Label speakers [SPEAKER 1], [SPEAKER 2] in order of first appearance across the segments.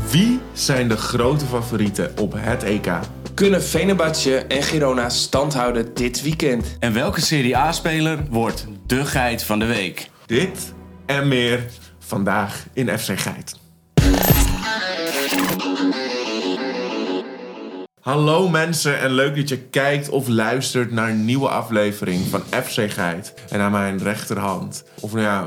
[SPEAKER 1] Wie zijn de grote favorieten op het EK?
[SPEAKER 2] Kunnen Venebatje en Girona standhouden dit weekend?
[SPEAKER 3] En welke Serie A-speler wordt de geit van de week?
[SPEAKER 1] Dit en meer vandaag in FC Geit. Hallo mensen en leuk dat je kijkt of luistert naar een nieuwe aflevering van FC Geit. En aan mijn rechterhand, of nou ja,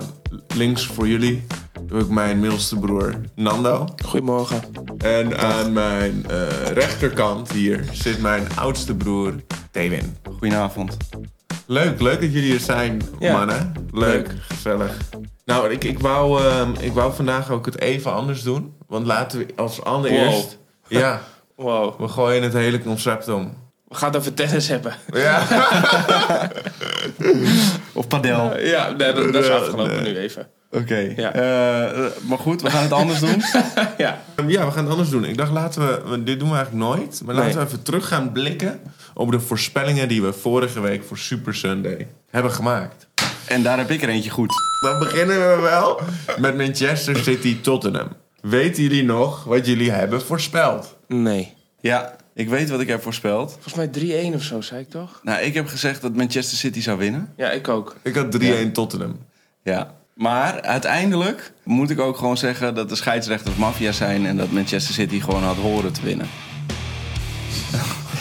[SPEAKER 1] links voor jullie, heb ik mijn middelste broer Nando.
[SPEAKER 2] Goedemorgen.
[SPEAKER 1] En aan mijn eh, rechterkant hier zit mijn oudste broer Tewin.
[SPEAKER 3] Goedenavond.
[SPEAKER 1] Leuk, leuk dat jullie er zijn,
[SPEAKER 2] Ja.
[SPEAKER 1] mannen. Leuk,
[SPEAKER 2] Leuk.
[SPEAKER 1] gezellig. Nou, ik, ik, wou, ehm, ik wou vandaag ook het even anders doen. Want laten we als allereerst... Ja,
[SPEAKER 2] Wow.
[SPEAKER 1] we gooien het hele concept om.
[SPEAKER 2] We gaan het over tennis hebben.
[SPEAKER 1] Ja,
[SPEAKER 3] Of padel. Oké.
[SPEAKER 2] Ja, nee, dat, dat is
[SPEAKER 1] Nee,
[SPEAKER 2] afgelopen
[SPEAKER 1] nee.
[SPEAKER 2] nu even. Ja.
[SPEAKER 3] Eh, eh, maar goed, we gaan het anders doen.
[SPEAKER 2] Ja.
[SPEAKER 1] Ehm, ja we gaan het anders doen. Ik dacht, laten we... want Dit doen we eigenlijk nooit. Maar laten
[SPEAKER 2] Nee.
[SPEAKER 1] we even terug gaan blikken... op de voorspellingen die we vorige week voor Super Sunday hebben gemaakt.
[SPEAKER 3] En daar heb ik er eentje goed.
[SPEAKER 1] Dan beginnen we wel met Manchester City Tottenham. Weten jullie nog wat jullie hebben voorspeld?
[SPEAKER 2] Nee.
[SPEAKER 3] Ja, ik weet wat ik heb voorspeld.
[SPEAKER 2] Volgens mij 3-1 of zo, zei ik toch?
[SPEAKER 3] Nou, ik heb gezegd dat Manchester City zou winnen.
[SPEAKER 2] Ja, ik ook.
[SPEAKER 1] Ik had 3-1 Tottenham.
[SPEAKER 3] Ja. Maar uiteindelijk moet ik ook gewoon zeggen dat de scheidsrechters maffia zijn en dat Manchester City gewoon had horen te winnen.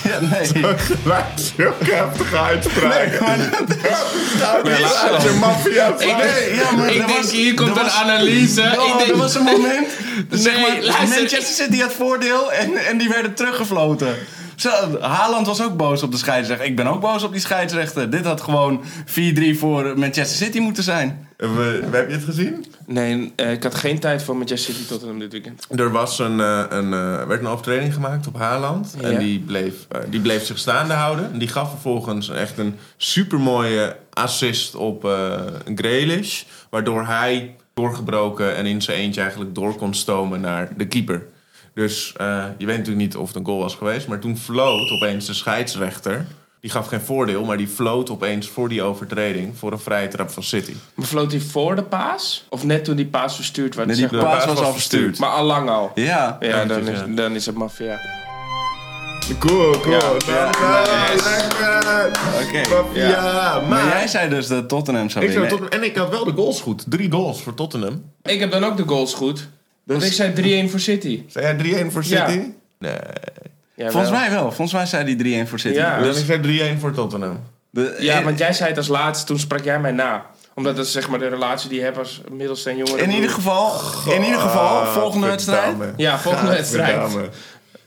[SPEAKER 3] ja, nee.
[SPEAKER 1] Wij zulke heftige uitspraken.
[SPEAKER 2] Nee,
[SPEAKER 1] Laat
[SPEAKER 2] laat maar.
[SPEAKER 1] je maffia
[SPEAKER 2] Ik
[SPEAKER 1] vrij.
[SPEAKER 2] denk-
[SPEAKER 3] ja, maar
[SPEAKER 2] ik
[SPEAKER 3] er
[SPEAKER 2] denk,
[SPEAKER 3] was-
[SPEAKER 2] hier komt
[SPEAKER 3] er
[SPEAKER 2] een
[SPEAKER 3] was-
[SPEAKER 2] analyse.
[SPEAKER 3] Oh,
[SPEAKER 2] ik denk,
[SPEAKER 3] er was een moment. Dus
[SPEAKER 2] Nee,
[SPEAKER 3] zeg maar,
[SPEAKER 2] luister.
[SPEAKER 3] Manchester City had voordeel en, en die werden teruggefloten. Zo, Haaland was ook boos op de scheidsrechter. Ik ben ook boos op die scheidsrechter. Dit had gewoon 4-3 voor Manchester City moeten zijn.
[SPEAKER 1] We, we- heb je het gezien?
[SPEAKER 2] Nee, eh, ik had geen tijd voor Manchester City Tottenham dit weekend.
[SPEAKER 1] Er was een, eh, een, eh, werd een overtreding gemaakt op Haaland.
[SPEAKER 2] Ja.
[SPEAKER 1] En die bleef, eh, die bleef zich staande houden. En die gaf vervolgens echt een supermooie assist op eh Grealish. Waardoor hij doorgebroken en in zijn eentje eigenlijk door kon stomen naar de keeper. Dus eh, je weet natuurlijk niet of het een goal was geweest. Maar toen floot opeens de scheidsrechter. Die gaf geen voordeel, maar die floot opeens voor die overtreding. Voor een vrije trap van City.
[SPEAKER 2] Maar floot hij voor de paas? Of net toen die paas verstuurd werd?
[SPEAKER 3] Nee, die
[SPEAKER 2] zeg maar?
[SPEAKER 3] paas was al verstuurd.
[SPEAKER 2] maar al lang al.
[SPEAKER 3] Ja.
[SPEAKER 2] Ja, dan
[SPEAKER 1] eventjes,
[SPEAKER 2] is, dan is het maffia.
[SPEAKER 1] Cool, cool.
[SPEAKER 2] Ja, ja, nice.
[SPEAKER 3] Oké.
[SPEAKER 1] Ja,
[SPEAKER 3] Maar
[SPEAKER 1] maar...
[SPEAKER 3] jij zei dus dat Tottenham zou
[SPEAKER 1] Ik zou
[SPEAKER 3] winnen.
[SPEAKER 1] Tottenham, en ik had wel de goals goed. Drie goals voor Tottenham.
[SPEAKER 2] Ik heb dan ook de goals goed. Want ik zei 3-1 voor City.
[SPEAKER 1] Zei jij 3-1 voor
[SPEAKER 2] Ja.
[SPEAKER 1] City? Nee.
[SPEAKER 2] Ja,
[SPEAKER 3] Volgens
[SPEAKER 2] wel.
[SPEAKER 3] mij wel. Volgens mij zei die 3-1 voor City.
[SPEAKER 2] Ja.
[SPEAKER 1] Dus ik zei 3-1 voor Tottenham.
[SPEAKER 3] De-
[SPEAKER 2] Ja,
[SPEAKER 3] in,
[SPEAKER 2] want jij zei het als laatste, toen sprak jij mij na. Omdat dat is zeg maar de relatie die je hebt als middelste en jongere.
[SPEAKER 3] in ieder geval, in ieder geval volgende wedstrijd.
[SPEAKER 1] Godverdamme.
[SPEAKER 2] Ja, volgende wedstrijd.
[SPEAKER 1] Godverdamme.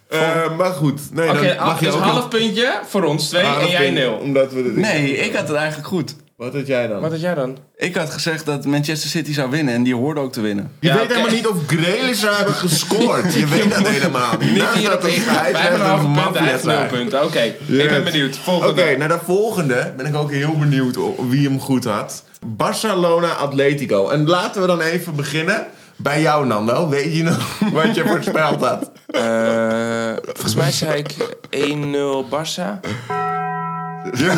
[SPEAKER 1] Eh, maar goed. Nee,
[SPEAKER 2] Oké,
[SPEAKER 1] dan mag je
[SPEAKER 2] dus
[SPEAKER 1] ook
[SPEAKER 2] half
[SPEAKER 1] nog-
[SPEAKER 2] puntje voor ons twee en jij
[SPEAKER 1] punt,
[SPEAKER 2] nul.
[SPEAKER 1] Omdat we dit-
[SPEAKER 3] Nee, ik had het eigenlijk goed.
[SPEAKER 1] Wat had jij dan?
[SPEAKER 2] Wat had jij dan?
[SPEAKER 3] Ik had gezegd dat Manchester City zou winnen en die hoorde ook te winnen.
[SPEAKER 1] Je
[SPEAKER 2] Ja,
[SPEAKER 1] weet
[SPEAKER 2] oké.
[SPEAKER 1] helemaal niet of Grealish zou hebben gescoord. Je weet dat helemaal niet. Nou,
[SPEAKER 2] Niet hier op
[SPEAKER 1] een
[SPEAKER 2] ingaan. Wij hebben een half punt, hij heeft nul punten. Oké, ik ben
[SPEAKER 1] Yes.
[SPEAKER 2] benieuwd.
[SPEAKER 1] Oké,
[SPEAKER 2] Volgende.
[SPEAKER 1] naar de volgende ben ik ook heel benieuwd o- wie hem goed had. Barcelona Atletico. En laten we dan even beginnen bij jou, Nando. Weet je nog wat je voorspeld had?
[SPEAKER 2] Eh, volgens mij zei ik 1-0 Barça. Laat,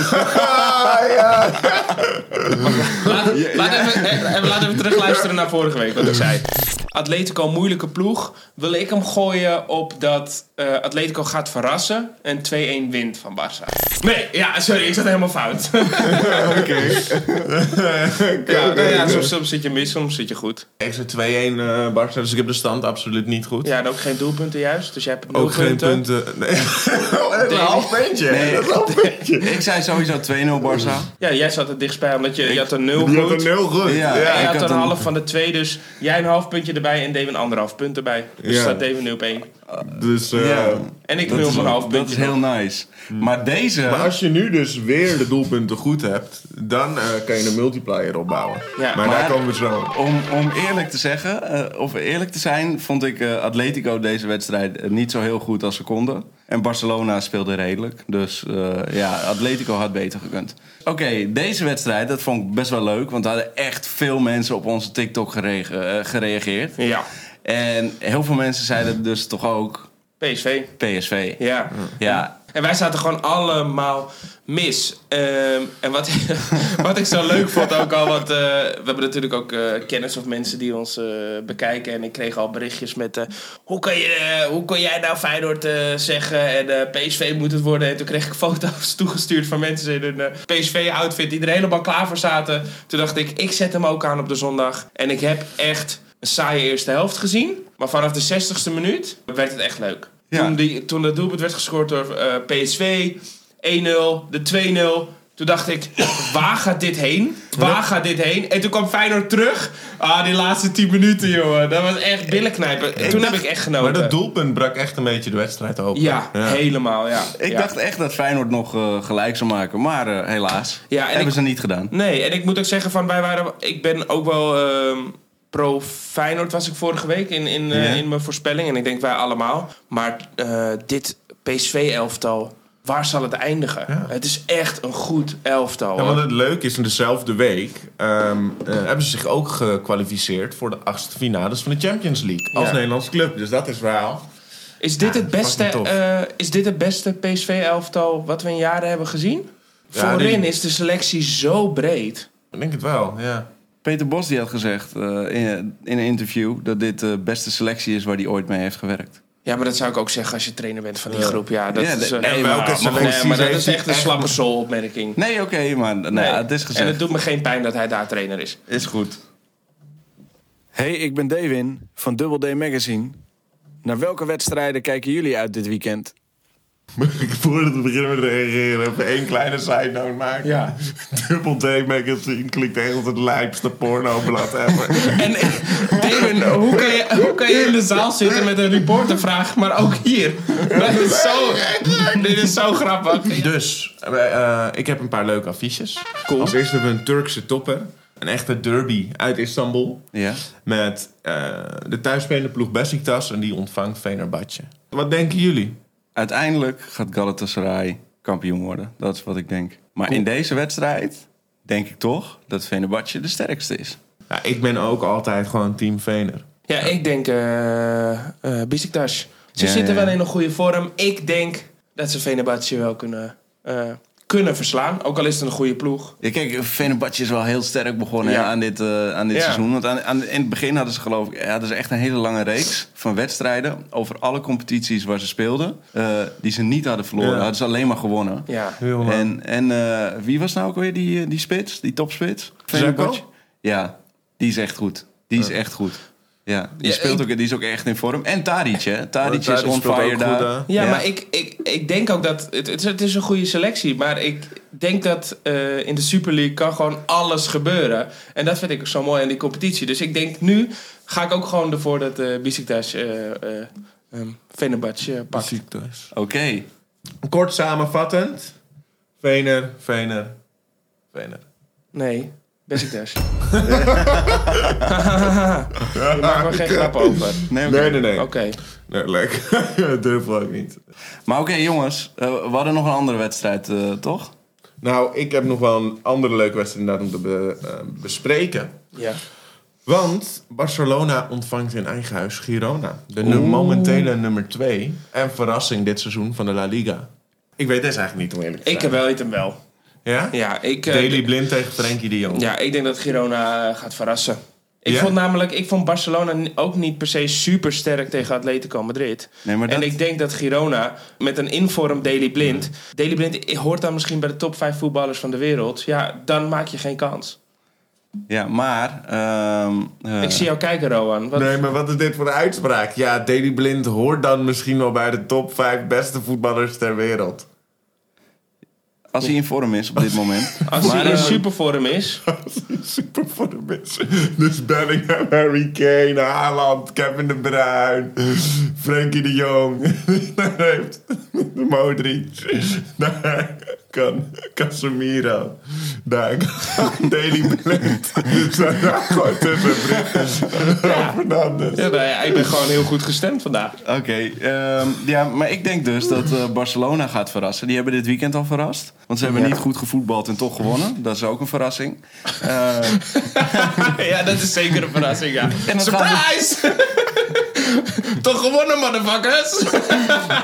[SPEAKER 2] laat, even, eh, eh, laat even terugluisteren naar vorige week wat ik zei. Atletico, moeilijke ploeg. Wil ik hem gooien op dat eh, Atletico gaat verrassen en 2-1 wint van Barça. Nee, ja, sorry, ik zat helemaal fout. ja, nou ja, soms, soms zit je mis, soms zit je goed.
[SPEAKER 1] Ik zei 2-1 eh, Barça, dus ik heb de stand absoluut niet goed.
[SPEAKER 2] Ja, en ook geen doelpunten juist, dus jij hebt nul
[SPEAKER 1] Ook geen
[SPEAKER 2] punten.
[SPEAKER 1] punten. Nee. Oh, een half puntje.
[SPEAKER 3] Nee.
[SPEAKER 1] Dat is een half puntje.
[SPEAKER 3] Ik zei sowieso 2-0 Barça.
[SPEAKER 2] Ja, jij zat het dichtstbij omdat je, je had een nul
[SPEAKER 1] Je had een
[SPEAKER 2] goed.
[SPEAKER 1] nul goed.
[SPEAKER 3] Ja.
[SPEAKER 2] En je
[SPEAKER 3] ik
[SPEAKER 2] had
[SPEAKER 3] had
[SPEAKER 2] een
[SPEAKER 3] een-
[SPEAKER 2] half van de twee, dus jij een half puntje erbij en David een anderhalf punt erbij. Dus
[SPEAKER 1] Ja.
[SPEAKER 2] staat David nu op één.
[SPEAKER 1] Dus, eh,
[SPEAKER 3] Ja.
[SPEAKER 2] En ik
[SPEAKER 3] Dat
[SPEAKER 2] nul
[SPEAKER 3] is,
[SPEAKER 2] van een half puntje.
[SPEAKER 3] dat is heel nice.
[SPEAKER 2] Hmm.
[SPEAKER 3] Maar deze...
[SPEAKER 1] Maar als je nu dus weer de doelpunten goed hebt, dan eh, kan je een multiplier opbouwen.
[SPEAKER 2] Ja,
[SPEAKER 1] maar, daar
[SPEAKER 3] maar-
[SPEAKER 1] komen we zo. op.
[SPEAKER 3] Om, om eerlijk te zeggen, eh, of eerlijk te zijn, vond ik eh, Atletico deze wedstrijd eh, niet zo heel goed als ze konden. En Barcelona speelde redelijk. Dus eh, ja, Atletico had beter gekund. Oké, deze wedstrijd, dat vond ik best wel leuk. Want er hadden echt veel mensen op onze TikTok gerege- eh, gereageerd.
[SPEAKER 2] Ja,
[SPEAKER 3] En heel veel mensen zeiden dus toch ook
[SPEAKER 2] PSV.
[SPEAKER 3] PSV.
[SPEAKER 2] Ja.
[SPEAKER 3] Ja,
[SPEAKER 2] En wij zaten gewoon allemaal mis. Ehm, en wat, wat ik zo leuk vond ook al, want eh, we hebben natuurlijk ook eh, kennis of mensen die ons eh, bekijken. En ik kreeg al berichtjes met, eh, hoe, kan je, hoe kan jij nou Feyenoord eh, zeggen en eh, PSV moet het worden. En toen kreeg ik foto's toegestuurd van mensen in hun eh, PSV-outfit die er helemaal klaar voor zaten. Toen dacht ik, ik zet hem ook aan op de zondag. En ik heb echt een saaie eerste helft gezien. Maar vanaf de 60ste minuut werd het echt leuk.
[SPEAKER 3] Ja.
[SPEAKER 2] Toen, die, toen dat doelpunt werd gescoord door eh, PSV, 1-0, de 2-0. Toen dacht ik, waar gaat dit heen? Waar gaat dit heen? En toen kwam Feyenoord terug. Ah, die laatste 10 minuten, jongen. Dat was echt billenknijpen. En toen heb ik echt genoten.
[SPEAKER 1] Maar dat doelpunt brak echt een beetje de wedstrijd open.
[SPEAKER 2] Ja, helemaal, ja.
[SPEAKER 3] Ik
[SPEAKER 2] Ja.
[SPEAKER 3] dacht echt dat Feyenoord nog eh, gelijk zou maken, maar eh, helaas.
[SPEAKER 2] Ja, en
[SPEAKER 3] hebben
[SPEAKER 2] ik-
[SPEAKER 3] ze niet gedaan.
[SPEAKER 2] Nee, en ik moet ook zeggen van wij waren. Ik ben ook wel ehm, pro Feyenoord was ik vorige week in, in, eh,
[SPEAKER 3] Ja.
[SPEAKER 2] in mijn voorspelling en ik denk wij allemaal. Maar eh, dit PSV elftal, waar zal het eindigen?
[SPEAKER 1] Ja.
[SPEAKER 2] Het is echt een goed elftal.
[SPEAKER 1] Ja,
[SPEAKER 2] hoor.
[SPEAKER 1] want het leuke is, in dezelfde week ehm, eh, hebben ze zich ook gekwalificeerd voor de achtste finales van de Champions League. Als
[SPEAKER 2] Ja.
[SPEAKER 1] Nederlandse club. Dus dat is verhaal.
[SPEAKER 2] is, dit het beste,
[SPEAKER 1] fucking tof.
[SPEAKER 2] eh, is dit het beste PSV elftal wat we in jaren hebben gezien?
[SPEAKER 1] Ja,
[SPEAKER 2] Voorin
[SPEAKER 1] die-
[SPEAKER 2] is de selectie zo breed.
[SPEAKER 1] Ik denk het wel, ja.
[SPEAKER 3] Peter Bos die had gezegd eh, in, in een interview dat dit de beste selectie is waar hij ooit mee heeft gewerkt.
[SPEAKER 2] Ja, maar dat zou ik ook zeggen als je trainer bent van die
[SPEAKER 1] Ja.
[SPEAKER 2] groep. Ja, dat
[SPEAKER 3] Ja,
[SPEAKER 2] is,
[SPEAKER 3] de-
[SPEAKER 2] een-
[SPEAKER 3] en
[SPEAKER 2] Nee,
[SPEAKER 1] welke
[SPEAKER 2] maar-
[SPEAKER 1] selectie
[SPEAKER 2] nee, maar dat
[SPEAKER 1] heeft
[SPEAKER 2] is
[SPEAKER 1] hij
[SPEAKER 2] echt een
[SPEAKER 1] echt-
[SPEAKER 2] slappe zoolopmerking.
[SPEAKER 3] Nee, oké, maar nou, ja, het is
[SPEAKER 2] En
[SPEAKER 3] gezegd.
[SPEAKER 2] het doet me geen pijn dat hij daar trainer is.
[SPEAKER 3] Is goed.
[SPEAKER 4] Hey, ik ben Dewin van Double D Magazine. Naar welke wedstrijden kijken jullie uit dit weekend?
[SPEAKER 1] Mag ik voordat we beginnen met reageren even één kleine side note maken?
[SPEAKER 2] Ja.
[SPEAKER 1] Dubbel D magazine klinkt echt als het lijpste pornoblad ever.
[SPEAKER 2] En eh, Damon, hoe kan, je, hoe kan je in de zaal zitten met een reportervraag, maar ook hier? Dat is zo, dit is zo grappig.
[SPEAKER 1] dus, eh, eh, ik heb een paar leuke affiches. Als eerste hebben we een Turkse topper. Een echte derby uit Istanbul.
[SPEAKER 3] Ja.
[SPEAKER 1] Met eh, de thuisspelende ploeg Besiktas en die ontvangt Venerbahce. Wat denken jullie?
[SPEAKER 3] Uiteindelijk gaat Galatasaray kampioen worden. Dat is wat ik denk. Maar in deze wedstrijd denk ik toch dat Fenerbahce de sterkste is.
[SPEAKER 1] Ja, ik ben ook altijd gewoon team Vener.
[SPEAKER 2] Ja, ik denk eh eh Besiktas. Ze
[SPEAKER 3] Ja,
[SPEAKER 2] zitten
[SPEAKER 3] ja, ja.
[SPEAKER 2] wel in een goede vorm. Ik denk dat ze Venebatje wel kunnen, eh, kunnen verslaan. Ook al is het een goede ploeg.
[SPEAKER 3] Ja, kijk, Fenerbahce is wel heel sterk begonnen
[SPEAKER 2] Ja.
[SPEAKER 3] hè, aan dit, eh, aan dit
[SPEAKER 2] Ja.
[SPEAKER 3] seizoen. Want aan, aan, in het begin hadden ze geloof ik eh, hadden ze echt een hele lange reeks van wedstrijden... over alle competities waar ze speelden, eh, die ze niet hadden verloren.
[SPEAKER 1] Ja.
[SPEAKER 3] Hadden ze alleen maar gewonnen.
[SPEAKER 2] Ja.
[SPEAKER 1] Heel lang.
[SPEAKER 3] En, en eh, wie was nou ook weer die, eh, die spits, die topspits? Fenerbahce? Ja, die is echt goed. Die is echt goed. Ja, die,
[SPEAKER 2] Ja,
[SPEAKER 3] speelt
[SPEAKER 2] ik-
[SPEAKER 3] ook, die is ook echt in vorm. En Tadic, hè. Tadic is
[SPEAKER 1] Tadic
[SPEAKER 3] on
[SPEAKER 1] Oh, speelt
[SPEAKER 3] fire
[SPEAKER 1] ook
[SPEAKER 3] daar.
[SPEAKER 1] goed, hè?
[SPEAKER 2] Ja,
[SPEAKER 3] Ja.
[SPEAKER 2] maar ik, ik, ik denk ook dat... Het, het, is, het is een goede selectie, maar ik denk dat eh, in de Super League kan gewoon alles gebeuren. En dat vind ik zo mooi aan die competitie. Dus ik denk nu ga ik ook gewoon ervoor dat eh Besiktas eh eh ehm, Fenerbahce eh, pakt.
[SPEAKER 1] Besiktas.
[SPEAKER 3] Oké.
[SPEAKER 1] Kort samenvattend. Vener, Vener, Vener.
[SPEAKER 2] Nee, Besiktas. Daar maken we geen grap over.
[SPEAKER 3] Nee, oké.
[SPEAKER 1] Nee, nee, nee.
[SPEAKER 2] Oké.
[SPEAKER 1] nee lekker. Durf ook niet.
[SPEAKER 3] Maar oké, jongens. eh, we hadden nog een andere wedstrijd, eh, toch?
[SPEAKER 1] Nou, ik heb nog wel een andere leuke wedstrijd inderdaad om te be- eh, bespreken.
[SPEAKER 2] Ja.
[SPEAKER 1] Want Barcelona ontvangt in eigen huis Girona. De nu- momentele nummer 2 en verrassing dit seizoen van de La Liga. Ik weet deze eigenlijk niet om eerlijk te
[SPEAKER 2] Ik
[SPEAKER 1] zijn.
[SPEAKER 2] wel, weet hem wel.
[SPEAKER 1] Ja?
[SPEAKER 2] Ja, ik... eh,
[SPEAKER 1] Daily Blind tegen Frenkie de Jong.
[SPEAKER 2] Ja, ik denk dat Girona eh, gaat verrassen. Ik
[SPEAKER 1] Ja?
[SPEAKER 2] vond namelijk, ik vond Barcelona ni- ook niet per se super sterk tegen Atletico Madrid.
[SPEAKER 3] Nee, maar
[SPEAKER 2] En
[SPEAKER 3] dat-
[SPEAKER 2] ik denk dat Girona met een inform Daily Blind. Daily Blind hoort dan misschien bij de top 5 voetballers van de wereld. Ja, dan maak je geen kans.
[SPEAKER 3] Ja, maar... ehm, eh,
[SPEAKER 2] Ik zie jou kijken, Roan. Wat-
[SPEAKER 1] Nee, maar wat is dit voor een uitspraak? Ja, Daily Blind hoort dan misschien wel bij de top 5 beste voetballers ter wereld.
[SPEAKER 3] Als hij in vorm is op dit moment.
[SPEAKER 2] Als
[SPEAKER 3] maar,
[SPEAKER 2] hij in
[SPEAKER 3] eh,
[SPEAKER 2] supervorm is.
[SPEAKER 1] Super voor de mensen. Dus Bellingham, Harry Kane, Haaland, Kevin de Bruyne, Frenkie de Jong. Daar heeft Modric. Daar kan Casemiro. Daar kan Daily Blind. Dus daar gaat gewoon tussen Britt. Fernandes.
[SPEAKER 2] Ja, nou ja, ik ben gewoon heel goed gestemd vandaag.
[SPEAKER 3] Oké, ehm, ja, maar ik denk dus dat eh, Barcelona gaat verrassen. Die hebben dit weekend al verrast. Want ze hebben niet goed gevoetbald en toch gewonnen. Dat is ook een verrassing. Eh,
[SPEAKER 2] ja, dat is zeker een verrassing, ja.
[SPEAKER 3] En dat
[SPEAKER 2] Surprise! Toch gewonnen, motherfuckers!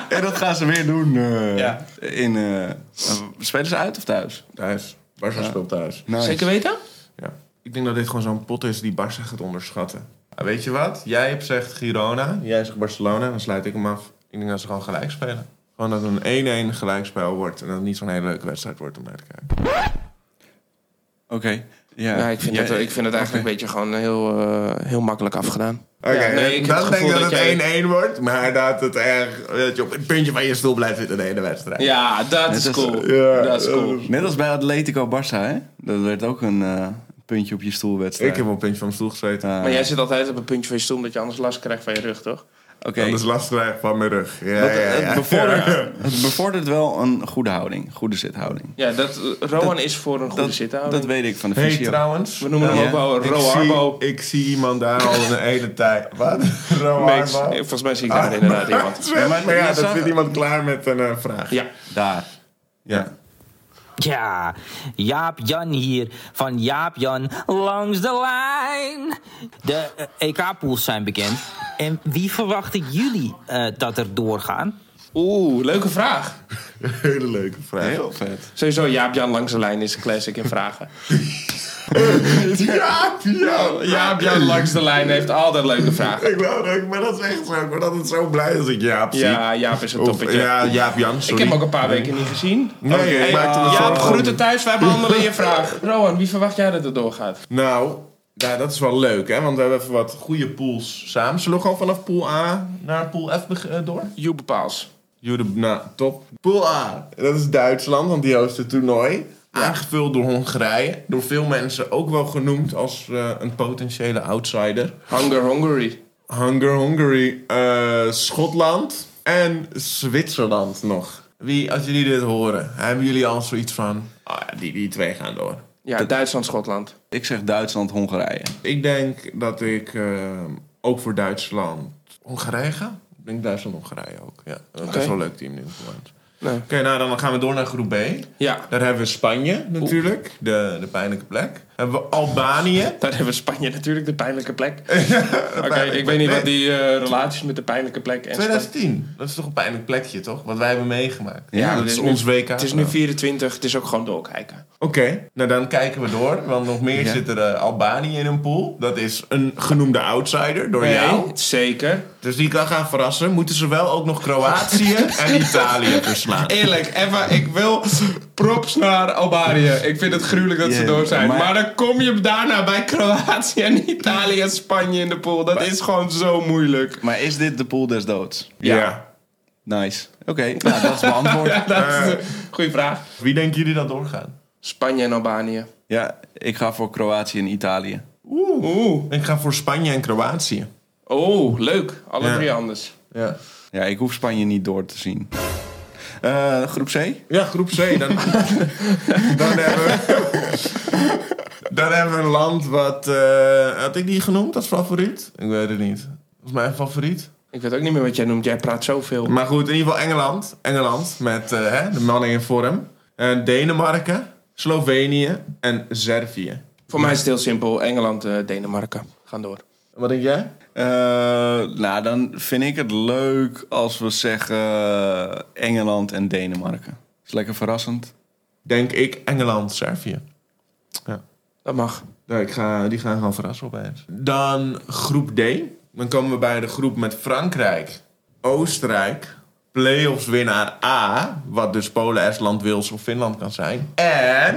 [SPEAKER 3] En dat gaan ze weer doen. eh,
[SPEAKER 2] Ja.
[SPEAKER 3] in, eh, eh, spelen ze uit of thuis?
[SPEAKER 1] Thuis. Barca speelt thuis.
[SPEAKER 2] Zeker weten?
[SPEAKER 1] Ja. Ik denk dat dit gewoon zo'n pot is die Barca gaat onderschatten. Ah, weet je wat? Jij hebt zegt Girona, jij zegt Barcelona, dan sluit ik hem af. Ik denk dat ze gewoon gelijk spelen. Gewoon dat het een 1-1 gelijkspel wordt en dat het niet zo'n hele leuke wedstrijd wordt om naar te kijken.
[SPEAKER 3] Oké. Ja.
[SPEAKER 2] Ja, ik vind,
[SPEAKER 3] Ja,
[SPEAKER 2] het, ik vind het eigenlijk een beetje gewoon heel, eh, heel makkelijk afgedaan.
[SPEAKER 1] Oké,
[SPEAKER 2] Ja, nee, ik heb
[SPEAKER 1] dan
[SPEAKER 2] het
[SPEAKER 1] denk ik
[SPEAKER 2] gevoel
[SPEAKER 1] dat,
[SPEAKER 2] dat
[SPEAKER 1] het 1-1
[SPEAKER 2] jij-
[SPEAKER 1] wordt, maar dat het echt dat je op het puntje van je stoel blijft zitten de hele wedstrijd.
[SPEAKER 2] Ja, dat is
[SPEAKER 3] is- eh,
[SPEAKER 2] cool.
[SPEAKER 1] ja,
[SPEAKER 2] dat is cool.
[SPEAKER 3] Net als bij Atletico Barça, hè? Dat werd ook een eh, puntje op je stoelwedstrijd.
[SPEAKER 1] Ik heb op het puntje van mijn stoel gezeten.
[SPEAKER 3] Eh,
[SPEAKER 2] Maar jij zit altijd op een puntje van je stoel, omdat je anders last krijgt van je rug, toch?
[SPEAKER 3] Oké.
[SPEAKER 1] Anders last krijg ik eh, van mijn rug. Ja,
[SPEAKER 3] Dat-
[SPEAKER 2] eh,
[SPEAKER 1] ja, ja.
[SPEAKER 3] Het, bevordert, het bevordert wel een goede houding, goede zithouding.
[SPEAKER 2] Ja, dat, eh, Rowan is voor een goede
[SPEAKER 3] Dat,
[SPEAKER 2] zithouding.
[SPEAKER 3] dat weet ik van de
[SPEAKER 1] Hey,
[SPEAKER 3] fysio.
[SPEAKER 1] trouwens.
[SPEAKER 2] We noemen
[SPEAKER 3] Ja.
[SPEAKER 2] hem ook wel
[SPEAKER 1] ik,
[SPEAKER 2] Roarbo.
[SPEAKER 1] zie, ik zie iemand daar al de hele tijd. Wat?
[SPEAKER 2] Mix.
[SPEAKER 1] Roarbo?
[SPEAKER 2] Eh, Volgens mij zie ik
[SPEAKER 1] Ah.
[SPEAKER 2] daar inderdaad iemand.
[SPEAKER 1] Ja, maar,
[SPEAKER 3] maar ja,
[SPEAKER 1] ja,
[SPEAKER 3] dat
[SPEAKER 1] dat
[SPEAKER 3] zag-
[SPEAKER 1] vindt iemand klaar met een eh, vraag.
[SPEAKER 2] Ja,
[SPEAKER 3] Daar.
[SPEAKER 1] Ja.
[SPEAKER 5] Ja, Jaap Jan hier van Jaap Jan langs de lijn. De eh, EK-pools zijn bekend. En wie verwachten jullie eh, dat er doorgaan?
[SPEAKER 2] oeh, leuke vraag.
[SPEAKER 1] Hele leuke vraag.
[SPEAKER 3] Heel vet.
[SPEAKER 2] Sowieso, Jaap-Jan langs de lijn is een classic in vragen.
[SPEAKER 1] Ja, ja.
[SPEAKER 2] Jaap-Jan langs de lijn heeft altijd leuke vragen.
[SPEAKER 1] Ik wou dat ook, maar dat is echt zo. Ik ben altijd zo blij als ik Jaap zie.
[SPEAKER 2] Ja, Jaap is een
[SPEAKER 1] Of,
[SPEAKER 2] toppetje.
[SPEAKER 1] ja, Jaap Jan,
[SPEAKER 2] ik
[SPEAKER 1] sorry.
[SPEAKER 2] heb hem ook een paar weken niet gezien.
[SPEAKER 1] Nee, ik maakte me
[SPEAKER 2] Jaap,
[SPEAKER 1] zorgen om-
[SPEAKER 2] groeten thuis, wij behandelen je vraag. Rowan, wie verwacht jij dat het doorgaat?
[SPEAKER 1] Nou, ja, dat is wel leuk, hè? Want we hebben even wat goede pools samen. Zullen we gewoon vanaf pool A naar pool F beg- eh, door?
[SPEAKER 2] You bepaals.
[SPEAKER 1] Jullie, nou, top. Pool A, dat is Duitsland, want die host het toernooi. Aangevuld door Hongarije. Door veel mensen ook wel genoemd als eh, een potentiële outsider.
[SPEAKER 2] Hunger Hungary.
[SPEAKER 1] Hunger Hungary, eh, Schotland en Zwitserland nog. Wie, als jullie dit horen, hebben jullie al zoiets van... ah ja, die, die twee gaan door.
[SPEAKER 2] Ja, Duitsland, Schotland.
[SPEAKER 3] Ik zeg Duitsland, Hongarije.
[SPEAKER 1] Ik denk dat ik eh, ook voor Duitsland Hongarije ga. Ik denk Duitsland-Hongarije ook, ja. Dat is wel een leuk team nu. voor ons.
[SPEAKER 2] Nee.
[SPEAKER 1] Oké, nou dan gaan we door naar groep B.
[SPEAKER 2] Ja,
[SPEAKER 1] Daar hebben we Spanje natuurlijk, de, de pijnlijke plek. Hebben we Albanië.
[SPEAKER 2] daar hebben we Spanje natuurlijk, de pijnlijke plek. Oké, ik weet niet wat die eh, relaties met de pijnlijke plek en Spanje-
[SPEAKER 1] 2010, dat is toch een pijnlijk plekje, toch? Wat wij hebben meegemaakt.
[SPEAKER 3] Ja,
[SPEAKER 1] dat
[SPEAKER 2] het
[SPEAKER 1] is
[SPEAKER 2] is nu-
[SPEAKER 1] ons WK.
[SPEAKER 2] Het is nu 24, het is ook gewoon doorkijken.
[SPEAKER 1] Oké, nou dan kijken we door. Want nog meer zit er eh, Albanië in een pool. Dat is een genoemde outsider door jou.
[SPEAKER 2] Zeker.
[SPEAKER 1] Dus die kan gaan verrassen. Moeten ze wel ook nog Kroatië en Italië verslaan.
[SPEAKER 2] Eerlijk, Eva, ik wil props naar Albanië. Ik vind het gruwelijk dat ze
[SPEAKER 3] Ja,
[SPEAKER 2] door zijn. Maar...
[SPEAKER 3] maar-
[SPEAKER 2] dan kom je daarna bij Kroatië en Italië en Spanje in de pool. Dat is gewoon zo moeilijk.
[SPEAKER 3] Maar is dit de pool des doods?
[SPEAKER 1] Ja.
[SPEAKER 3] Nice. Oké, nou, dat is mijn antwoord.
[SPEAKER 2] Ja, dat is een goede vraag.
[SPEAKER 1] Eh, Wie denken jullie dat doorgaan?
[SPEAKER 2] Spanje en Albanië.
[SPEAKER 3] Ja, ik ga voor Kroatië en Italië.
[SPEAKER 2] Oeh.
[SPEAKER 1] Ik ga voor Spanje en Kroatië.
[SPEAKER 2] Oh, leuk. Alle
[SPEAKER 1] Ja.
[SPEAKER 2] drie anders.
[SPEAKER 1] Ja,
[SPEAKER 3] Ja, ik hoef Spanje niet door te zien. Eh, groep C?
[SPEAKER 1] ja groep C. Dan, dan, hebben we, dan hebben we een land wat... eh, had ik die genoemd als favoriet? Ik weet het niet. Dat is mijn favoriet.
[SPEAKER 2] Ik weet ook niet meer wat jij noemt. Jij praat zoveel.
[SPEAKER 1] Maar goed, in ieder geval Engeland. Engeland met eh, hè, de mannen in vorm. En Denemarken, Slovenië en Servië.
[SPEAKER 2] Voor mij is het heel simpel. Engeland, eh, Denemarken. Gaan door.
[SPEAKER 1] Wat denk jij?
[SPEAKER 3] Eh, nou, dan vind ik het leuk als we zeggen Engeland en Denemarken. Is lekker verrassend.
[SPEAKER 1] Denk ik Engeland, Servië.
[SPEAKER 2] Dat mag.
[SPEAKER 1] Nou, ik ga, die gaan gewoon verrassen opeens. Dan groep D. Dan komen we bij de groep met Frankrijk, Oostenrijk, playoffs winnaar A. Wat dus Polen, Estland, Wales of Finland kan zijn. En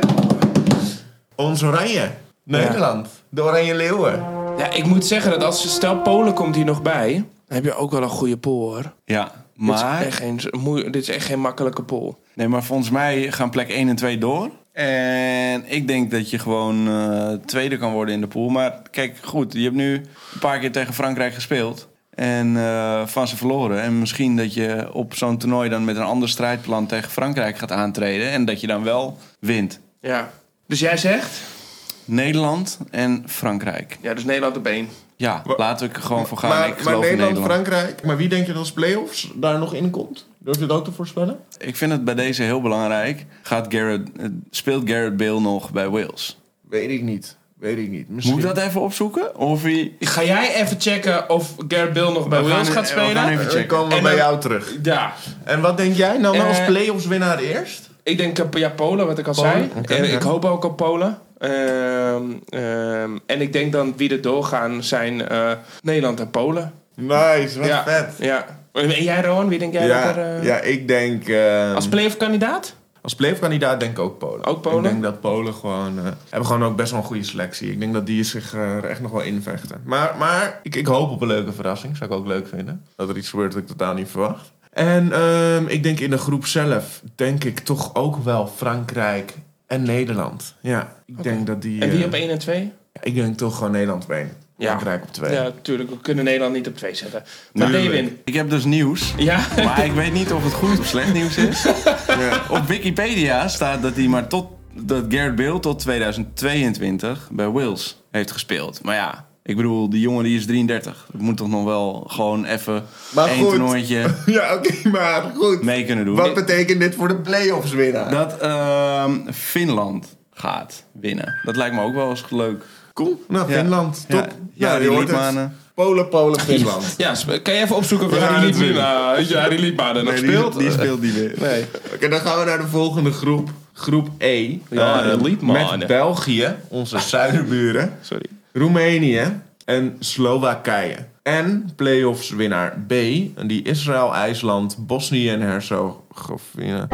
[SPEAKER 1] ons oranje, Nederland. De Oranje Leeuwen.
[SPEAKER 2] Ja, ik moet zeggen dat als stel Polen komt hier nog bij... dan heb je ook wel een goede pool, hoor.
[SPEAKER 3] Ja,
[SPEAKER 2] Dit is
[SPEAKER 3] maar,
[SPEAKER 2] echt geen, moe- dit is echt geen makkelijke pool.
[SPEAKER 3] nee, maar volgens mij gaan plek 1 en 2 door. En ik denk dat je gewoon eh, tweede kan worden in de pool. Maar kijk, goed, je hebt nu een paar keer tegen Frankrijk gespeeld. En eh, van ze verloren. En misschien dat je op zo'n toernooi dan met een ander strijdplan tegen Frankrijk gaat aantreden. En dat je dan wel wint.
[SPEAKER 2] Ja. Dus jij zegt?
[SPEAKER 3] Nederland en Frankrijk.
[SPEAKER 2] Ja, dus Nederland op één.
[SPEAKER 3] Ja, laten we er gewoon voor gaan.
[SPEAKER 1] Maar,
[SPEAKER 3] ik geloof
[SPEAKER 1] maar
[SPEAKER 3] in
[SPEAKER 1] Nederland,
[SPEAKER 3] Nederland.
[SPEAKER 1] Frankrijk. Maar wie denk je dat als play-offs daar nog in komt? Durf je dat ook te voorspellen?
[SPEAKER 3] Ik vind het bij deze heel belangrijk. Gaat Garrett, eh, speelt Garrett Bale nog bij Wales?
[SPEAKER 1] Weet ik niet. Weet ik niet. Misschien.
[SPEAKER 3] Moet ik dat even opzoeken? Of wie?
[SPEAKER 2] Ga jij even checken of Gareth Bill nog bij Wales gaat
[SPEAKER 3] we gaan
[SPEAKER 2] spelen?
[SPEAKER 3] even
[SPEAKER 1] Dan
[SPEAKER 3] checken.
[SPEAKER 1] komen we
[SPEAKER 2] En
[SPEAKER 1] bij
[SPEAKER 2] dan-
[SPEAKER 1] jou terug.
[SPEAKER 2] Ja,
[SPEAKER 1] En wat denk jij nou als
[SPEAKER 2] Eh,
[SPEAKER 1] play-offs winnaar eerst?
[SPEAKER 2] ik denk eh, ja, Polen, wat ik al
[SPEAKER 1] Polen,
[SPEAKER 2] zei.
[SPEAKER 1] oké,
[SPEAKER 2] En
[SPEAKER 1] ja.
[SPEAKER 2] Ik hoop ook op Polen. Ehm, ehm, en ik denk dan wie er doorgaan zijn eh, Nederland en Polen.
[SPEAKER 1] Nice, wat
[SPEAKER 2] ja,
[SPEAKER 1] vet.
[SPEAKER 2] Ja. En jij, Rowan, wie denk jij
[SPEAKER 1] Ja,
[SPEAKER 2] dat er... eh,
[SPEAKER 1] ja, ik denk... eh,
[SPEAKER 2] Als playoff kandidaat?
[SPEAKER 1] Als playoff-kandidaat denk ik ook Polen.
[SPEAKER 2] Ook Polen?
[SPEAKER 1] Ik denk dat Polen gewoon... eh, hebben gewoon ook best wel een goede selectie. Ik denk dat die zich eh, er echt nog wel invechten. Maar, maar ik, ik hoop op een leuke verrassing. Zou ik ook leuk vinden. Dat er iets gebeurt dat ik totaal niet verwacht. En ehm, ik denk in de groep zelf... denk ik toch ook wel Frankrijk en Nederland. Ja, ik denk dat die...
[SPEAKER 2] En wie
[SPEAKER 1] eh,
[SPEAKER 2] op 1 en 2?
[SPEAKER 1] ik denk toch gewoon Nederland op één.
[SPEAKER 2] Ja.
[SPEAKER 1] Frankrijk op twee.
[SPEAKER 2] Ja, tuurlijk. We kunnen Nederland niet op 2 zetten. Maar
[SPEAKER 1] Tuurlijk.
[SPEAKER 2] Lewin.
[SPEAKER 3] Ik heb dus nieuws.
[SPEAKER 2] Ja?
[SPEAKER 3] Maar ik weet niet of het goed of slecht nieuws is. Op Wikipedia staat dat hij maar tot dat Garrett Bale tot 2022 bij Wales heeft gespeeld. Maar ja, ik bedoel, die jongen die is 33. Dat moet toch nog wel gewoon even
[SPEAKER 1] Maar
[SPEAKER 3] één
[SPEAKER 1] goed.
[SPEAKER 3] toernooitje
[SPEAKER 1] Ja, oké, maar goed.
[SPEAKER 3] mee kunnen doen.
[SPEAKER 1] Wat betekent dit voor de play-offs winnaar?
[SPEAKER 3] Dat ehm, Finland gaat winnen. Dat lijkt me ook wel eens leuk.
[SPEAKER 1] Cool. Nou,
[SPEAKER 3] Ja.
[SPEAKER 1] Finland,
[SPEAKER 3] Ja.
[SPEAKER 1] top.
[SPEAKER 3] Ja,
[SPEAKER 1] nou,
[SPEAKER 3] die
[SPEAKER 1] je hoort het.
[SPEAKER 3] Liedmanen.
[SPEAKER 1] Polen, Polen, Finland.
[SPEAKER 2] Ja, sp- kan je even opzoeken of
[SPEAKER 1] We gaan
[SPEAKER 2] Harry
[SPEAKER 1] het
[SPEAKER 2] Liebman
[SPEAKER 1] doen.
[SPEAKER 2] eh, weet je, Harry Liebman er nog
[SPEAKER 3] Nee,
[SPEAKER 2] speelt?
[SPEAKER 3] Die, die speelt niet meer.
[SPEAKER 2] Nee.
[SPEAKER 1] Oké, dan gaan we naar de volgende groep. Groep E.
[SPEAKER 2] Ja,
[SPEAKER 1] Eh,
[SPEAKER 2] de Liedmanen.
[SPEAKER 1] Met België, onze zuiderburen.
[SPEAKER 2] Sorry.
[SPEAKER 1] Roemenië en Slowakije. En playoffs winnaar B, en die Israël, IJsland, Bosnië en Herzegovina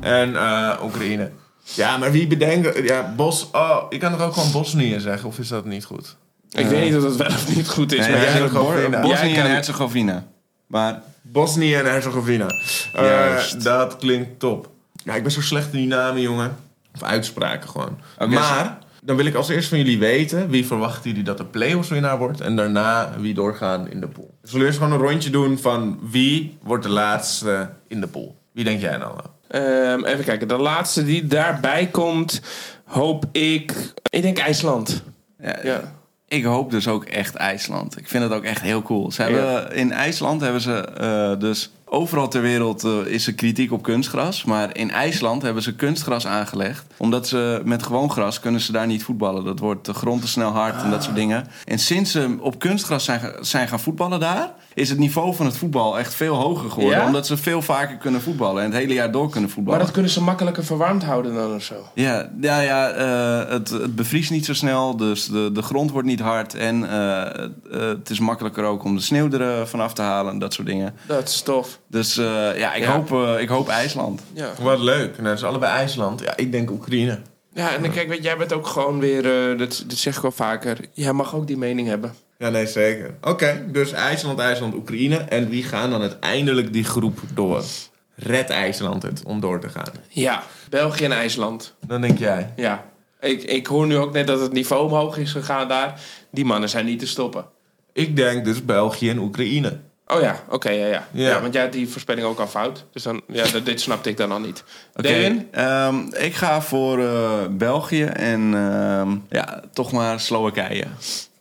[SPEAKER 1] en eh, Oekraïne. Ja, maar wie bedenkt... Ja, Bos... Oh, ik kan toch ook gewoon Bosnië zeggen? Of is dat niet goed?
[SPEAKER 2] Ik weet niet of dat wel of niet goed is.
[SPEAKER 3] Nee,
[SPEAKER 2] maar
[SPEAKER 1] jij
[SPEAKER 3] hij
[SPEAKER 1] kan
[SPEAKER 3] zegt Bor-
[SPEAKER 1] winnen.
[SPEAKER 3] Bosnië
[SPEAKER 2] Jij kan-
[SPEAKER 3] en Herzegovina. Maar
[SPEAKER 1] Bosnië en Herzegovina. Eh,
[SPEAKER 3] Juist.
[SPEAKER 1] dat klinkt top. Ja, ik ben zo slecht in die namen, jongen. Of uitspraken gewoon. maar dan wil ik als eerst van jullie weten... wie verwachten jullie dat de play-offs winnaar wordt... en daarna wie doorgaan in de pool. Dus we zullen eerst gewoon een rondje doen van... wie wordt de laatste in de pool? Wie denk jij nou?
[SPEAKER 2] Ehm, even kijken, de laatste die daarbij komt, hoop ik. Ik denk IJsland.
[SPEAKER 3] ja,
[SPEAKER 2] Ja.
[SPEAKER 3] ik hoop dus ook echt IJsland. Ik vind dat ook echt heel cool. Ze
[SPEAKER 2] Ja.
[SPEAKER 3] hebben, in IJsland hebben ze eh, dus... Overal ter wereld eh, is er kritiek op kunstgras. Maar in IJsland hebben ze kunstgras aangelegd. Omdat ze met gewoon gras kunnen ze daar niet voetballen. Dat wordt de grond te snel hard en dat soort
[SPEAKER 2] Ah.
[SPEAKER 3] dingen. En sinds ze op kunstgras zijn, ge- zijn gaan voetballen daar... is het niveau van het voetbal echt veel hoger geworden.
[SPEAKER 2] Ja?
[SPEAKER 3] Omdat ze veel vaker kunnen voetballen. En het hele jaar door kunnen voetballen.
[SPEAKER 2] Maar dat kunnen ze makkelijker verwarmd houden dan of zo.
[SPEAKER 3] Ja, ja, ja eh, het, het bevriest niet zo snel, dus de, de grond wordt niet hard. En eh, eh, het is makkelijker ook om de sneeuw er eh, vanaf te halen en dat soort dingen.
[SPEAKER 2] Dat is tof.
[SPEAKER 3] Dus eh, ja, ik,
[SPEAKER 2] Ja.
[SPEAKER 3] Hoop, eh, ik hoop IJsland.
[SPEAKER 2] Ja.
[SPEAKER 1] Wat leuk. Nou, het is allebei IJsland. Ja, ik denk Oekraïne.
[SPEAKER 2] ja, en dan kijk, weet, jij bent ook gewoon weer, eh, dat, dat zeg ik wel vaker. Jij mag ook die mening hebben.
[SPEAKER 1] Ja, nee, zeker. Oké, dus IJsland, IJsland, Oekraïne. En wie gaan dan uiteindelijk die groep door? Red IJsland het om door te gaan.
[SPEAKER 2] Ja, België en IJsland.
[SPEAKER 1] Dan denk jij.
[SPEAKER 2] Ja. Ik, ik hoor nu ook net dat het niveau omhoog is gegaan daar. Die mannen zijn niet te stoppen.
[SPEAKER 1] Ik denk dus België en Oekraïne.
[SPEAKER 2] Oh ja, oké, ja, ja.
[SPEAKER 1] Ja.
[SPEAKER 2] ja. want jij had die voorspelling ook al fout. Dus dan, ja, d- dit snapte ik dan al niet.
[SPEAKER 3] Oké,
[SPEAKER 2] Devin?
[SPEAKER 3] ehm, ik ga voor eh, België en ehm, ja, toch maar Slowakije.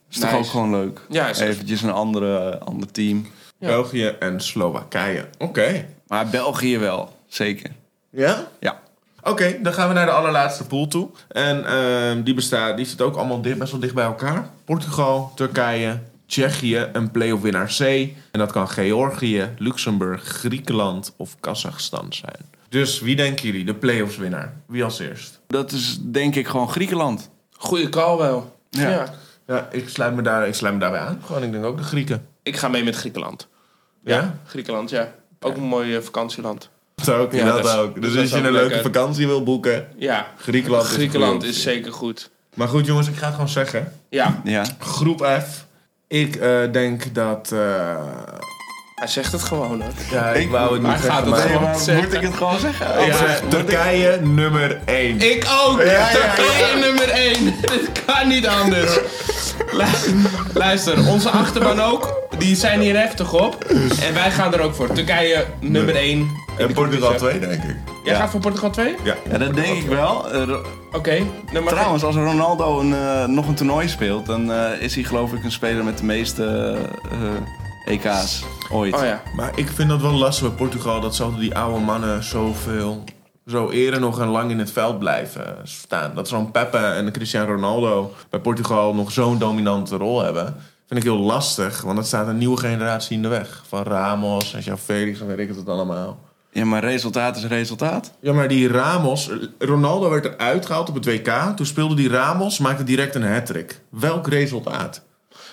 [SPEAKER 3] Is toch
[SPEAKER 2] Nice.
[SPEAKER 3] ook gewoon leuk?
[SPEAKER 2] Ja, is-
[SPEAKER 3] Eventjes een andere, ander team.
[SPEAKER 2] Ja.
[SPEAKER 1] België en Slowakije. Oké.
[SPEAKER 3] Maar België wel, zeker.
[SPEAKER 1] Ja?
[SPEAKER 3] Ja.
[SPEAKER 1] Oké, dan gaan we naar de allerlaatste pool toe. En ehm, die, bestaat, die zit ook allemaal dicht, best wel dicht bij elkaar. Portugal, Turkije, Tsjechië en play-off winnaar C. En dat kan Georgië, Luxemburg, Griekenland of Kazachstan zijn. Dus wie denken jullie de play-offs winnaar? Wie als eerst?
[SPEAKER 3] Dat is denk ik gewoon Griekenland.
[SPEAKER 2] Goeie call wel.
[SPEAKER 3] Ja.
[SPEAKER 2] ja.
[SPEAKER 1] Ja, ik sluit me, daar, ik sluit me daarbij aan. Gewoon, ik denk ook de Grieken.
[SPEAKER 2] Ik ga mee met Griekenland.
[SPEAKER 1] Ja?
[SPEAKER 2] Griekenland, ja. Ook een mooi eh, vakantieland.
[SPEAKER 1] Dat ook,
[SPEAKER 2] Ja,
[SPEAKER 1] dat,
[SPEAKER 2] dat is-
[SPEAKER 1] ook. Dus
[SPEAKER 2] dat
[SPEAKER 1] als
[SPEAKER 2] is
[SPEAKER 1] je
[SPEAKER 2] ook
[SPEAKER 1] een
[SPEAKER 2] leuk,
[SPEAKER 1] leuke
[SPEAKER 2] hè?
[SPEAKER 1] vakantie wil boeken.
[SPEAKER 2] Ja.
[SPEAKER 1] Griekenland, is
[SPEAKER 2] Griekenland
[SPEAKER 1] goed.
[SPEAKER 2] is zeker goed.
[SPEAKER 1] Maar goed jongens, ik ga het gewoon zeggen.
[SPEAKER 2] Ja,
[SPEAKER 3] Ja.
[SPEAKER 1] Groep F. Ik eh, denk dat... eh,
[SPEAKER 2] hij zegt het gewoon hoor.
[SPEAKER 1] ja, ik, wou het
[SPEAKER 2] maar
[SPEAKER 1] niet
[SPEAKER 2] gaat
[SPEAKER 1] zeggen,
[SPEAKER 2] het
[SPEAKER 1] maar-
[SPEAKER 2] gewoon?
[SPEAKER 3] maar
[SPEAKER 2] zeggen.
[SPEAKER 3] moet ik het gewoon zeggen?
[SPEAKER 1] Ik zeg Turkije nummer 1.
[SPEAKER 2] Ik ook!
[SPEAKER 1] ja, ja.
[SPEAKER 2] Turkije nummer 1. Dit kan niet anders. Lu- Luister, onze achterban ook. Die zijn hier heftig op. En wij gaan er ook voor. Turkije nummer 1.
[SPEAKER 1] En Portugal 2, denk ik.
[SPEAKER 2] Jij gaat voor Portugal 2?
[SPEAKER 1] Ja.
[SPEAKER 3] Ja, dat denk ik wel. Eh, Ro-
[SPEAKER 2] Oké. nummer
[SPEAKER 3] trouwens, als Ronaldo een, eh, nog een toernooi speelt, dan eh, is hij geloof ik een speler met de meeste eh, EK's ooit.
[SPEAKER 2] Oh ja.
[SPEAKER 1] Maar ik vind dat wel lastig bij Portugal dat ze altijd die oude mannen zoveel zo eren nog en lang in het veld blijven staan. Dat zo'n Pepe en Cristiano Ronaldo bij Portugal nog zo'n dominante rol hebben... vind ik heel lastig, want dat staat een nieuwe generatie in de weg. Van Ramos en Jean Felix en weet ik het allemaal.
[SPEAKER 3] Ja, maar resultaat is resultaat.
[SPEAKER 1] Ja, maar die Ramos... Ronaldo werd eruit gehaald op het WK. Toen speelde die Ramos, maakte direct een hat-trick. Welk resultaat?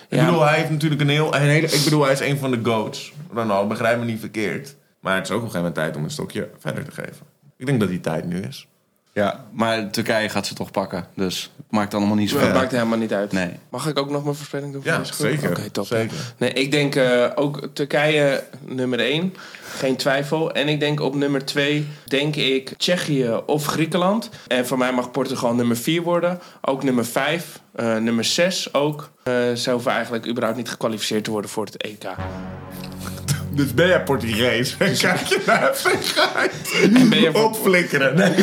[SPEAKER 1] ik
[SPEAKER 2] Ja,
[SPEAKER 1] bedoel,
[SPEAKER 2] maar-
[SPEAKER 1] hij heeft natuurlijk een heel... Een hele, ik bedoel, hij is een van de goats. Ronaldo, begrijp me niet verkeerd. Maar het is ook op een gegeven moment tijd om een stokje verder te geven. Ik denk dat die tijd nu is.
[SPEAKER 3] Ja, maar Turkije gaat ze toch pakken. Dus het maakt allemaal niet zoveel
[SPEAKER 1] Ja.
[SPEAKER 2] Dat
[SPEAKER 3] uit.
[SPEAKER 2] maakt helemaal niet uit.
[SPEAKER 3] Nee.
[SPEAKER 2] Mag ik ook nog mijn voorspelling doen? voor
[SPEAKER 1] Ja,
[SPEAKER 2] deze groep?
[SPEAKER 1] zeker.
[SPEAKER 2] Oké, top.
[SPEAKER 1] zeker.
[SPEAKER 2] Nee, ik denk eh, ook Turkije nummer 1. Geen twijfel. En ik denk op nummer 2, denk ik Tsjechië of Griekenland. En voor mij mag Portugal nummer 4 worden. Ook nummer 5. nummer 6 ook. Eh ze hoeven eigenlijk überhaupt niet gekwalificeerd te worden voor het EK.
[SPEAKER 1] Dus ben jij Portugees? Kijk je naar Frankrijk?
[SPEAKER 2] En Dus- ben je voor-
[SPEAKER 1] Opflikkeren. Nee.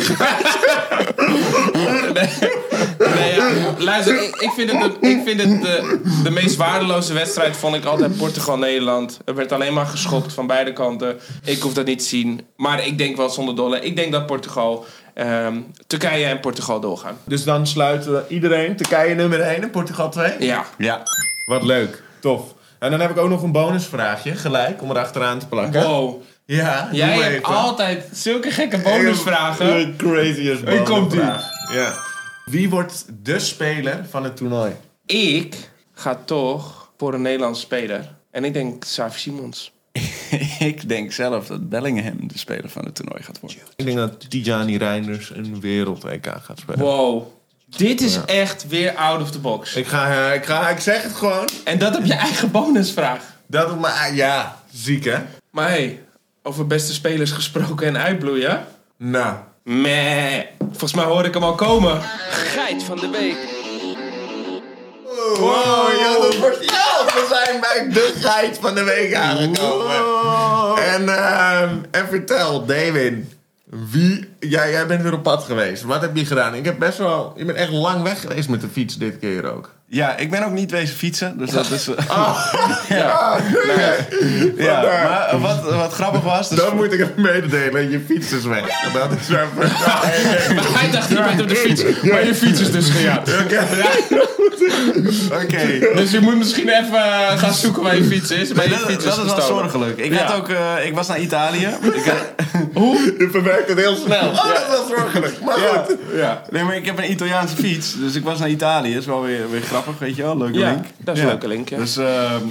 [SPEAKER 2] Nee, ja, luister, ik, ik vind het, een- ik vind het de, de meest waardeloze wedstrijd vond ik altijd Portugal-Nederland. Er werd alleen maar geschopt van beide kanten. Ik hoef dat niet te zien. Maar ik denk wel zonder dolle. Ik denk dat Portugal, ehm, Turkije en Portugal doorgaan.
[SPEAKER 1] Dus dan sluiten we iedereen. Turkije nummer 1 en Portugal 2.
[SPEAKER 2] Ja.
[SPEAKER 3] Ja,
[SPEAKER 1] Wat leuk. Tof. En dan heb ik ook nog een bonusvraagje, gelijk, om erachteraan te plakken.
[SPEAKER 2] Wow.
[SPEAKER 1] Ja, doe
[SPEAKER 2] Jij
[SPEAKER 1] maar
[SPEAKER 2] hebt
[SPEAKER 1] even.
[SPEAKER 2] altijd zulke gekke bonusvragen.
[SPEAKER 1] De craziest
[SPEAKER 2] Hier komt ie.
[SPEAKER 1] bonusvraag. Ja. Wie wordt de speler van het toernooi?
[SPEAKER 2] Ik ga toch voor een Nederlandse speler. En ik denk Xavi Simons.
[SPEAKER 3] ik denk zelf dat Bellingham de speler van het toernooi gaat worden.
[SPEAKER 1] Ik denk dat Tijani Reinders een wereld-EK gaat spelen.
[SPEAKER 2] Wow. Dit is echt weer out of the box.
[SPEAKER 1] Ik, ga, eh, ik, ga, ik zeg het gewoon.
[SPEAKER 2] En dat op je eigen bonusvraag.
[SPEAKER 1] Dat doet me- ah, Ja, ziek hè?
[SPEAKER 2] Maar hey, over beste spelers gesproken en uitbloeien.
[SPEAKER 1] Nou,
[SPEAKER 2] Meh. Volgens mij hoor ik hem al komen. Geit van de week.
[SPEAKER 1] Wow, Oh, ja, dat wordt- ja, we zijn bij de geit van de week aangekomen. En, ehm, en vertel, David, wie, jij, jij bent weer op pad geweest. Wat heb je gedaan? Ik heb best wel, je bent echt lang weg geweest met de fiets dit keer ook.
[SPEAKER 3] Ja, ik ben ook niet wezen fietsen, dus dat is... eh,
[SPEAKER 2] Ah.
[SPEAKER 3] ja,
[SPEAKER 1] vandaar.
[SPEAKER 3] maar eh, wat, wat grappig was... Dus
[SPEAKER 1] Dan moet ik het mededelen, je fiets is weg. Dat is even...
[SPEAKER 2] Hij dacht, je bent op de fiets, maar je fiets is dus gejaagd.
[SPEAKER 1] Oké.
[SPEAKER 2] Dus je moet misschien even eh, gaan zoeken waar je fiets is. Maar je
[SPEAKER 3] Dat,
[SPEAKER 2] fiets
[SPEAKER 3] dat is wel
[SPEAKER 2] gestolen.
[SPEAKER 3] zorgelijk. Ik,
[SPEAKER 2] Ja.
[SPEAKER 3] had ook, eh, ik was naar Italië. Ik had-
[SPEAKER 1] Je verwerkt het heel snel.
[SPEAKER 2] Ja.
[SPEAKER 1] Oh, dat is wel zorgelijk. Maar
[SPEAKER 3] Ja.
[SPEAKER 1] goed.
[SPEAKER 2] Ja.
[SPEAKER 3] nee, maar ik heb een Italiaanse fiets. Dus ik was naar Italië. is wel weer, weer grappig, weet je wel. Leuke
[SPEAKER 2] Ja,
[SPEAKER 3] link.
[SPEAKER 2] dat is een leuke link, ja.
[SPEAKER 3] Dus ehm,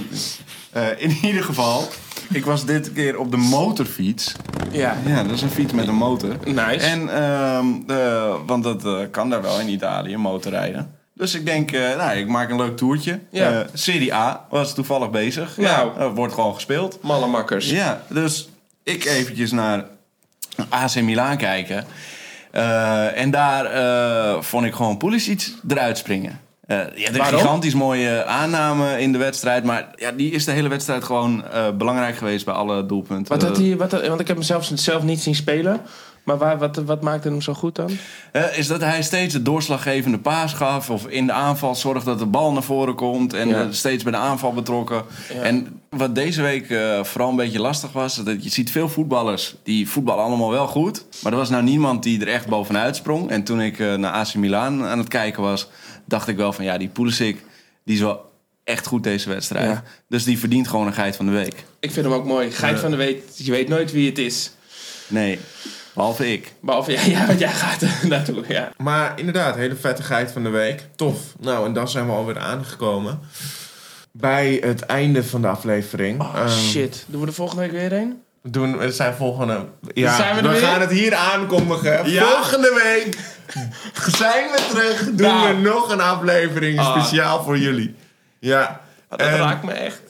[SPEAKER 3] eh, in ieder geval, ik was dit keer op de motorfiets.
[SPEAKER 2] ja.
[SPEAKER 3] Ja, dat is een fiets met een motor.
[SPEAKER 2] Nice.
[SPEAKER 3] En, ehm, eh, want dat eh, kan daar wel in Italië, motorrijden. Dus ik denk, eh, nou, ik maak een leuk toertje.
[SPEAKER 2] Ja.
[SPEAKER 3] Eh, Serie A was toevallig bezig.
[SPEAKER 2] Nou.
[SPEAKER 3] Ja, eh, wordt gewoon gespeeld.
[SPEAKER 2] Malle makkers.
[SPEAKER 3] Ja, dus ik eventjes naar AC Milan kijken. Eh, en daar eh, vond ik gewoon Pulisic eruit springen. Eh je had een
[SPEAKER 2] Waarom?
[SPEAKER 3] gigantisch mooie aanname in de wedstrijd. Maar ja, die is de hele wedstrijd gewoon eh, belangrijk geweest bij alle doelpunten.
[SPEAKER 2] Wat had
[SPEAKER 3] Eh,
[SPEAKER 2] hij, wat had- want ik heb hem zelf, zelf niet zien spelen. Maar waar, wat, wat maakte hem zo goed dan?
[SPEAKER 3] Eh, is dat hij steeds de doorslaggevende paas gaf. Of in de aanval zorgt dat de bal naar voren komt. En
[SPEAKER 2] Ja.
[SPEAKER 3] eh, steeds bij de aanval betrokken. En wat deze week eh, vooral een beetje lastig was. is Dat je ziet veel voetballers. Die voetballen allemaal wel goed. Maar er was nou niemand die er echt bovenuit sprong. En toen ik eh, naar AC Milan aan het kijken was. Dacht ik wel van ja, die Pulisic. Die is wel echt goed deze wedstrijd.
[SPEAKER 2] Ja.
[SPEAKER 3] Dus die verdient gewoon een geit van de week.
[SPEAKER 2] Ik vind hem ook mooi. Geit van de week, je weet nooit wie het is.
[SPEAKER 3] Nee, behalve ik.
[SPEAKER 2] Behalve jij, ja, want jij gaat er naartoe. Ja.
[SPEAKER 1] Maar inderdaad, hele vette geit van de week. Tof. Nou, en dan zijn we alweer aangekomen. Bij het einde van de aflevering.
[SPEAKER 2] Oh
[SPEAKER 1] Ehm,
[SPEAKER 2] shit, doen we er volgende week weer een?
[SPEAKER 1] Doen, we zijn volgende. Ja,
[SPEAKER 2] zijn we er
[SPEAKER 1] we
[SPEAKER 2] weer?
[SPEAKER 1] gaan het hier aankondigen.
[SPEAKER 2] Ja.
[SPEAKER 1] Volgende week zijn we terug. Doen
[SPEAKER 2] Nou.
[SPEAKER 1] we nog een aflevering
[SPEAKER 2] Ah.
[SPEAKER 1] speciaal voor jullie. Ja.
[SPEAKER 2] Dat
[SPEAKER 1] En-
[SPEAKER 2] raakt me echt.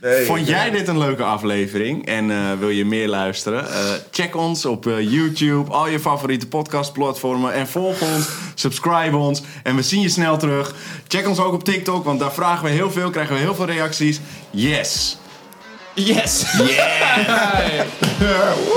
[SPEAKER 1] nee,
[SPEAKER 3] Vond
[SPEAKER 1] nee.
[SPEAKER 3] jij dit een leuke aflevering en eh, wil je meer luisteren? Eh, check ons op eh, YouTube, al je favoriete podcastplatformen en volg ons, subscribe ons en we zien je snel terug. Check ons ook op TikTok, want daar vragen we heel veel, krijgen we heel veel reacties. Yes!
[SPEAKER 2] Yes!
[SPEAKER 3] Yeah!
[SPEAKER 2] Hey.
[SPEAKER 1] Ja, woe.